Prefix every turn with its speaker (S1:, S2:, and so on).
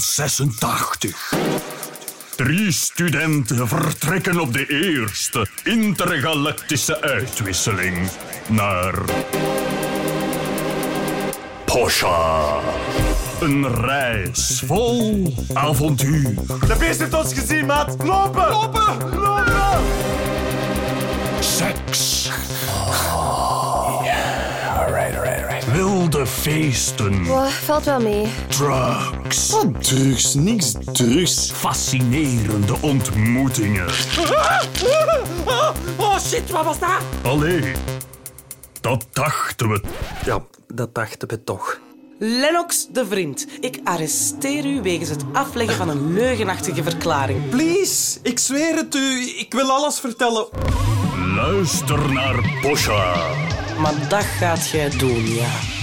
S1: 2086. Drie studenten vertrekken op de eerste intergalactische uitwisseling naar. Posha. Een reis vol avontuur.
S2: De beest heeft ons gezien, maat. Lopen! Lopen! Lopen!
S1: Seks. Wilde feesten.
S3: Boah, valt wel mee.
S1: Drugs.
S4: Wat drugs, niks drugs.
S1: Fascinerende ontmoetingen.
S5: Oh shit, wat was dat?
S1: Allee, dat dachten we.
S6: Ja, dat dachten we toch.
S5: Lennox de Vriend, ik arresteer u wegens het afleggen van een leugenachtige verklaring.
S6: Please, ik zweer het u, ik wil alles vertellen.
S1: Luister naar Boscha.
S5: Maar dat gaat jij doen, ja.